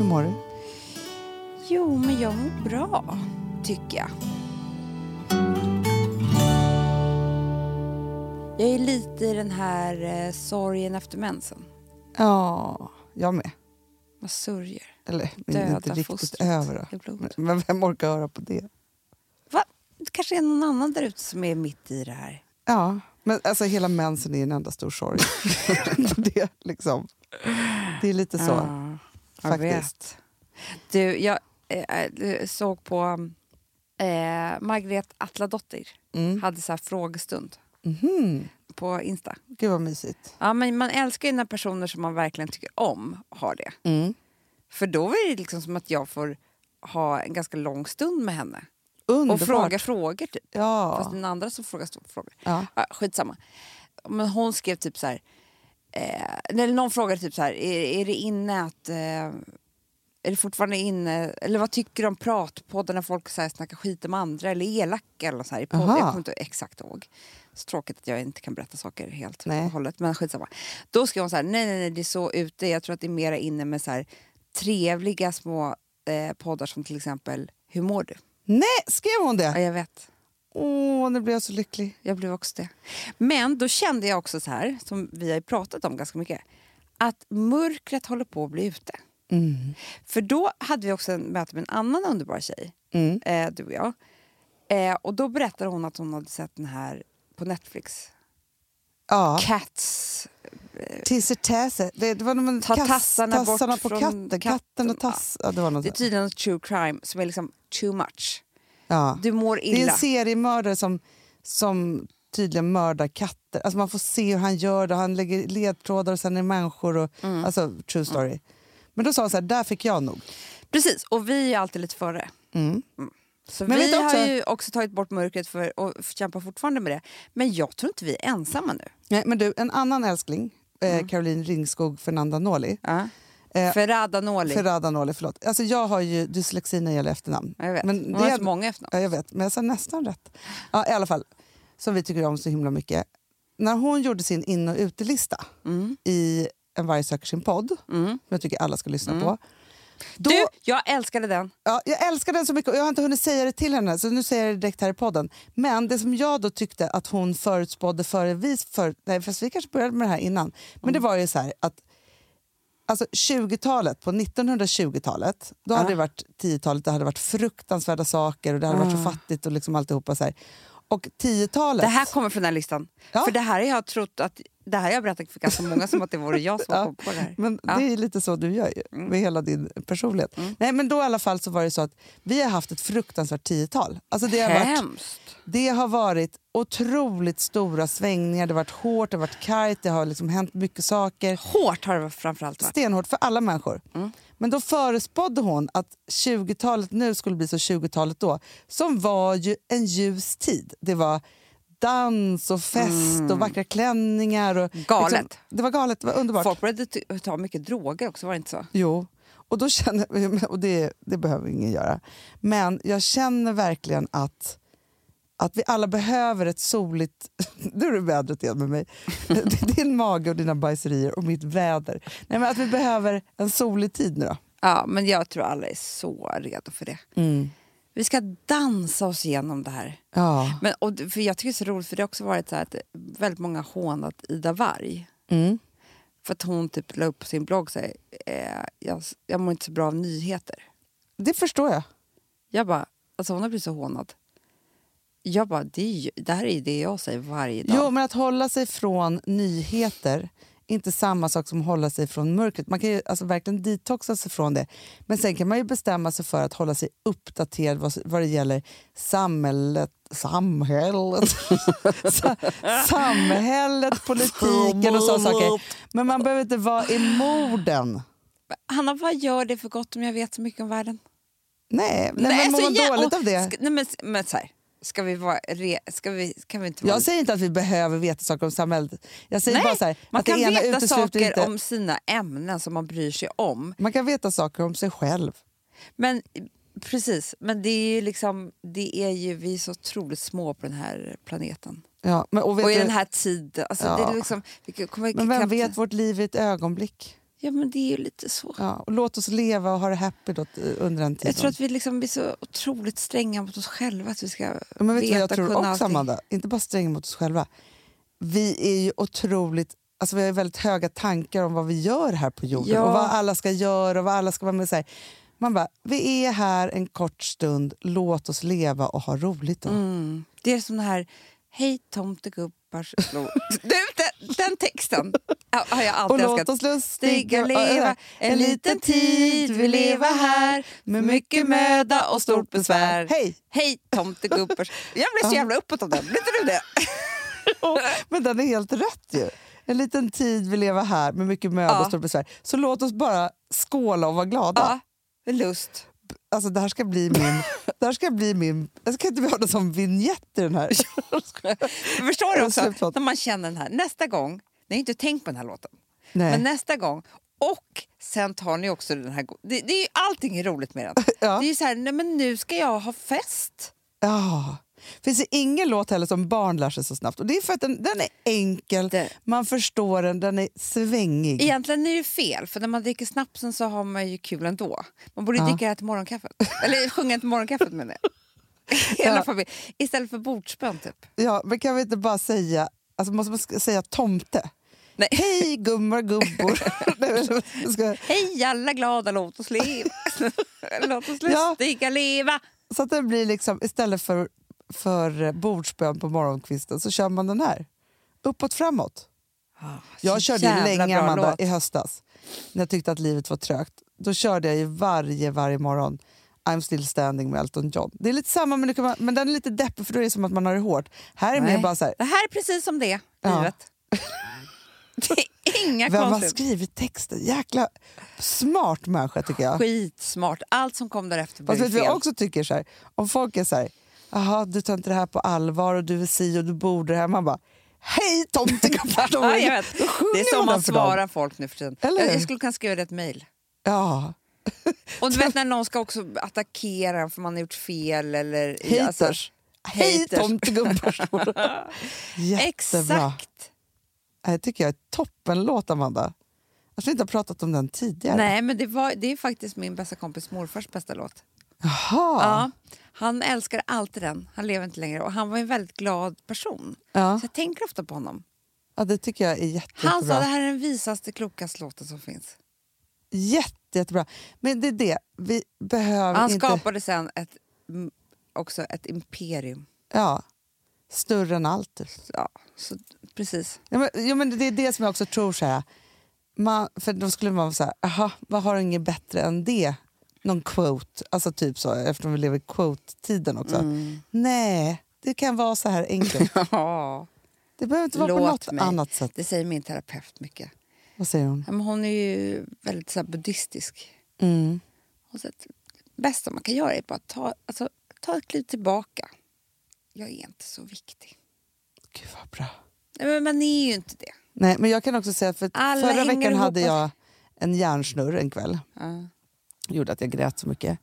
mår du? Jo, men jag mår bra, tycker jag. Jag är lite i den här eh, sorgen efter mensen. Ja, jag med. Man sörjer. Eller men Döda inte riktigt fostret över då. i blod. Men- Men vem orkar höra på det? Va? Det kanske är någon annan där ute som är mitt i det här. Ja, men alltså hela mensen är en enda stor sorg. det, är liksom. det är lite så, Ja, jag vet. faktiskt. Du, jag eh, eh, såg på eh, Margret Atladottir. Mm. Hade så här frågestund Mhm. på Insta. Gud vad mysigt. Ja, men man älskar ju när personer som man verkligen tycker om har det. Mm. För då är det liksom som att jag får ha en ganska lång stund med henne. Underbart. Och fråga frågor typ. Fast Ja. den andra som frågar stora frågor. ja. Ja, skitsamma. Men hon skrev typ så här... Eh, eller någon frågade typ så här, är, är det inne att... Eh, är det fortfarande inne... Eller vad tycker du om pratpodden när folk så här snackar skit om andra eller är elaka eller så här, i podd, Aha. Jag kommer inte exakt ihåg. Så tråkigt att jag inte kan berätta saker helt Nej. och hållet. Men skitsamma. Då skrev hon så här, nej, nej, nej, det är så ute. Jag tror att det är mera inne med så här trevliga små eh, poddar som till exempel Hur mår du? Nej, skrev hon Ja, det? jag vet. Åh, nu blev jag så lycklig. Jag blev också det. Men då kände jag också så här, som vi har ju pratat om ganska mycket, att mörkret håller på att bli ute. Mm. För då hade vi också en möte med en annan underbar tjej, Mm. eh, du och jag. Eh, och då berättade hon att hon hade sett den här på Netflix. Ja, Cats. Tisser Täse. Det, det var de Ta tassarna bort tassarna på från katten. Katten katten, och tass. Ja, det var något Det är sånt. typ tydligen true crime som är liksom too much. ja. Du mår det är illa. en seriemördare som, som tydligen mördar katter. Alltså man får se hur han gör det. Han lägger ledtrådar och sen är det människor. Och, Mm. Alltså true story. Men då sa hon så här, där fick jag nog. Precis, och vi är ju alltid lite före. Mm. Så Men vet vi du också- har ju också tagit bort mörkret för, och kämpar fortfarande med det. Men jag tror inte vi är ensamma nu. Nej, men du, en annan älskling, Mm. eh, Caroline Ringskog Fernanda Noli. Ja. Eh, Ferrada Noli. Ferrada Noli, förlåt. Alltså jag har ju dyslexi när det gäller efternamn. Ja, Jag vet. Men Men det har är- så många efternamn. Ja, jag vet, men jag sa nästan rätt. Ja, I alla fall, som vi tycker om så himla mycket. När hon gjorde sin in och utelista i En varg söker sin podd, som jag tycker alla ska lyssna på. Då, Du, jag älskade den. ja, jag älskar den så mycket och jag har inte hunnit säga det till henne, så nu säger jag det direkt här i podden. Men det som jag då tyckte att hon förutspådde före vi... För, nej, fast vi kanske började med det här innan. Men det Mm. var ju så här att Alltså 20-talet, på 1920-talet, då hade det varit 10-talet, det hade varit fruktansvärda saker och det hade varit så fattigt och liksom alltihopa så här. Och 10-talet... Mm. Det här kommer från den här listan. Ja. För det här har jag trott att... Det här har jag berättat för ganska många som att det vore jag som Ja, kom på det här. Men Ja. Mm. det är lite så du gör ju, med hela din personlighet. Nej, men då i alla fall så var det så att vi har haft ett fruktansvärt 10-tal. Alltså det har varit Hemskt. Det har varit otroligt stora svängningar. Det har varit hårt, det har varit kargt, det har liksom hänt mycket saker. Hårt har det framförallt varit. Stenhårt för alla människor. Men då förespådde hon att 20-talet nu skulle bli så 20-talet då, som var ju en ljus tid. Det var dans och fest och vackra klänningar. Och, liksom, Galet. det var galet, det var underbart. Folk började ty- ta mycket droger också, var det inte så? Jo, och, då känner, och det, det behöver ingen göra. Men jag känner verkligen att, att vi alla behöver ett soligt... Nu är det vädret igen med mig. Det är Din mage och dina bajserier och mitt väder. Nej, men att vi behöver en solig tid nu då. Ja, men jag tror alla är så redo för det. Vi ska dansa oss igenom det här. Ja. Men, och, det- för jag tycker det är så roligt, för det har också varit så här att väldigt många har hånat Ida Warg. Mm. För att hon typ la upp på sin blogg så här, eh, jag, jag mår inte så bra av nyheter. Det förstår jag. Jag bara, alltså hon har blivit så hånad. Jag bara, det, är ju, det här är ju det jag säger varje dag. Jo, men att hålla sig från nyheter är inte samma sak som att hålla sig från mörkret. Man kan ju alltså, verkligen detoxa sig från det. Men sen kan man ju bestämma sig för att hålla sig uppdaterad vad, vad det gäller samhället, samhället, Sa- samhället, politiken och sådana saker. Men man behöver inte vara i morden. Hanna, vad gör det för gott om jag vet så mycket om världen? Nej, nej, men mår så man jä- dåligt och- av det? Ska, nej, men, men så här, ska vi vara... Re, ska vi, kan vi inte vara Jag säger inte att vi behöver veta saker om samhället. Jag säger nej, bara så här, man att kan det ena veta utesluter saker inte... om sina ämnen som man bryr sig om. Man kan veta saker om sig själv. Men precis, men det är ju liksom... Det är ju, vi är så otroligt små på den här planeten. Ja, men, och vet Och i du- den här tiden. Alltså, det Ja. är liksom, vi kommer Men vem knappt- vet, vårt liv är ett ögonblick. Ja, men det är ju lite så. Ja, och låt oss leva och ha det happy då, eh, under den tiden. Jag tror att vi liksom blir så otroligt stränga mot oss själva att vi ska Ja, Men vet du vad jag veta och tror kunna också, allting. Amanda? Inte bara stränga mot oss själva. Vi är ju otroligt... Alltså vi har ju väldigt höga tankar om vad vi gör här på jorden Ja. och vad alla ska göra och vad alla ska vara med och säga. Man bara, vi är här en kort stund, låt oss leva och ha roligt då. Mm. Det är som det här Hej tomtegubbars slå. Du, den, den texten har- har jag Och alltid låt älskat. oss lustiga Stiga leva en liten tid vi leva här med mycket möda och stort besvär. Hej! Hej tomtegubbars... Jag blev så jävla uppåt av den. Blir inte du det? Men den är helt rätt ju. En liten tid vi lever här med mycket möda Ja. och stort besvär. Så låt oss bara skåla och vara glada. Ja, med lust. Alltså det här ska bli min... Det här ska bli min... Jag ska inte vi ha det som vignett i den här? Men Förstår du Och också slutlåt. när man känner den här. Nästa gång, ni har ju inte tänkt på den här låten, Nej. men nästa gång och sen tar ni också den här... go- Det, det är ju, allting är roligt med den. Ja. Det är ju så här, nej men nu ska jag ha fest. Ja. Finns det ingen låt heller som barn lär sig så snabbt? Och det är för att den, den är enkel, Det- man förstår den, den är svängig. Egentligen är det ju fel, för när man dricker snapsen så har man ju kul ändå. Man borde Ja. dricka det här till morgonkaffet. Eller sjunga till morgonkaffet menar jag. Hela familjen. Istället för bordsbön typ. Ja, men kan vi inte bara säga... Alltså måste man sk- säga tomte? Nej. Hej gummar gubbor! Nej, men jag ska, Hej alla glada, låt oss leva. låt oss Ja. lustiga leva. så att den blir liksom, istället för, för eh, bordsbön på morgonkvisten så kör man den här. Uppåt framåt. Ah, Jag Ah, Så körde jävla ju länge bra Amanda, låt. i höstas när jag tyckte att livet var trögt. Då körde jag ju varje, varje morgon I'm still standing med Elton John. Det är lite samma, men, det kan man, men den är lite deppig för då är det som att man har det hårt. Här är mer Nej. bara så här, Det här är precis som det, Ja. livet. det är inga vem har konstigheter. skrivit texten? Jäkla smart människa tycker jag. Skitsmart. Allt som kom därefter blev Fast vet fel. vi också tycker så här, om folk är så här, jaha du tar inte det här på allvar och du är si och du borde det här. Man bara, hej tomtegubbar! Då- Ja, jag vet. då sjunger Det är man som man för dem. svarar folk nu för tiden. Eller Jag, hur? jag skulle kunna skriva det i ett mejl. Ja, Och du vet när någon ska också attackera en för man har gjort fel eller... haters. hej alltså, haters. tomtegubbar! står det. Jättebra. Exakt! Det tycker jag är toppenlåt, Amanda. Jag tror inte jag har pratat om den tidigare. Nej, men det, var, det är faktiskt min bästa kompis morfars bästa låt. Jaha. Ja, han älskar alltid den. Han lever inte längre och han var en väldigt glad person. Ja. Så jag tänker ofta på honom. Ja, det tycker jag är jätte, Han sa jättebra. det här är den visaste, klokaste låten som finns. Jätte, jättebra. Men det är det, vi behöver Han inte... skapade sen ett, mm, också ett imperium. Ja, större än allt. typ. Ja, så, precis. Ja, men, jo, men det är det som jag också tror. Så här. Man, för då skulle man vara så här, aha, vad har inget bättre än det? Någon quote, alltså typ så, eftersom vi lever i quote-tiden också. Mm. Nej, det kan vara så här enkelt. Ja, Det behöver inte vara på Låt något mig. annat sätt. det säger min terapeut mycket. Vad säger hon? Ja, Men hon är ju väldigt så här, buddhistisk. Mm. Hon säger att det bästa man kan göra är bara att ta, alltså, ta ett kliv tillbaka. Jag är inte så viktig. Gud vad bra. Nej, Men man är ju inte det. Nej, men jag kan också säga att för Alla förra hänger veckan ihop hade och- jag en hjärnsnurr en kväll. Ja. gjorde att jag grät så mycket.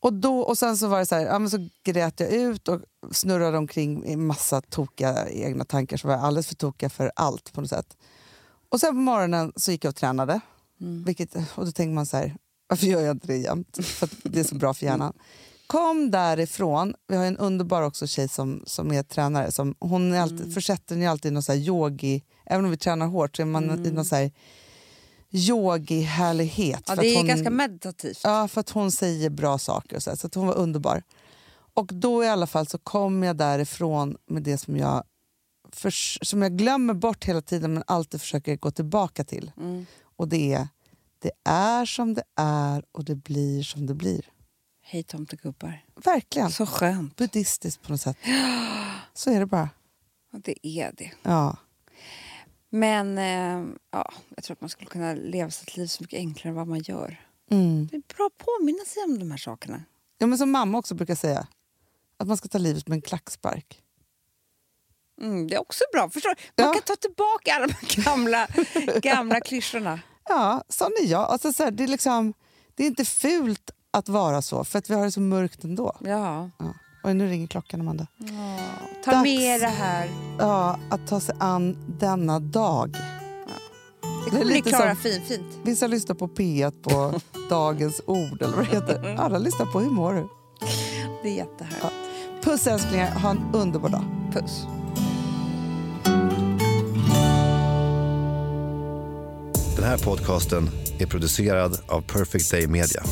Och, då, och sen så var det så här, ja, men så grät jag ut och snurrade omkring i massa tokiga egna tankar som var alldeles för tokiga för allt på något sätt. Och sen på morgonen så gick jag och tränade. Mm. Vilket, och då tänker man så här, varför gör jag inte det jämt? För att det är så bra för hjärnan. Kom därifrån, vi har en underbar också tjej som, som är tränare. Som, hon är alltid, Mm. försätter en ju alltid i någon så här yogi, även om vi tränar hårt så är man i någon så här yogi-härlighet. Mm. Ja, för det att är hon- ganska meditativt. Ja, för att hon säger bra saker. Och så, här, så att hon var underbar. Och då i alla fall så kom jag därifrån med det som jag, förs- som jag glömmer bort hela tiden men alltid försöker gå tillbaka till. Mm. Och det är, det är som det är och det blir som det blir. Hej tomtegubbar. Verkligen. Så skönt. Buddhistiskt på något sätt. Så är det bara. Ja, Det är det. Ja. Men eh, ja, jag tror att man skulle kunna leva sitt liv så mycket enklare än vad man gör. Mm. Det är bra att påminna sig om de här sakerna. ja men som mamma också brukar säga, att man ska ta livet med en klackspark. Mm, det är också bra. Förstår? du? Man Ja. kan ta tillbaka alla de här gamla, gamla klyschorna. Ja, sån är jag. Alltså, så här, det, är liksom, det är inte fult att vara så, för att vi har det så mörkt ändå. Ja. Ja. Och nu ringer klockan, Amanda. Ta Dags. med det här. Ja, att ta sig an denna dag. Det Det är kommer bli lite Klara som- fin, fint. Vissa lyssnar på P1 på Dagens Ord eller vad det heter. Alla lyssnar på Hur mår du? Det är jättehärligt. Puss älsklingar, ha en underbar dag. Puss. Den här podcasten är producerad av Perfect Day Media.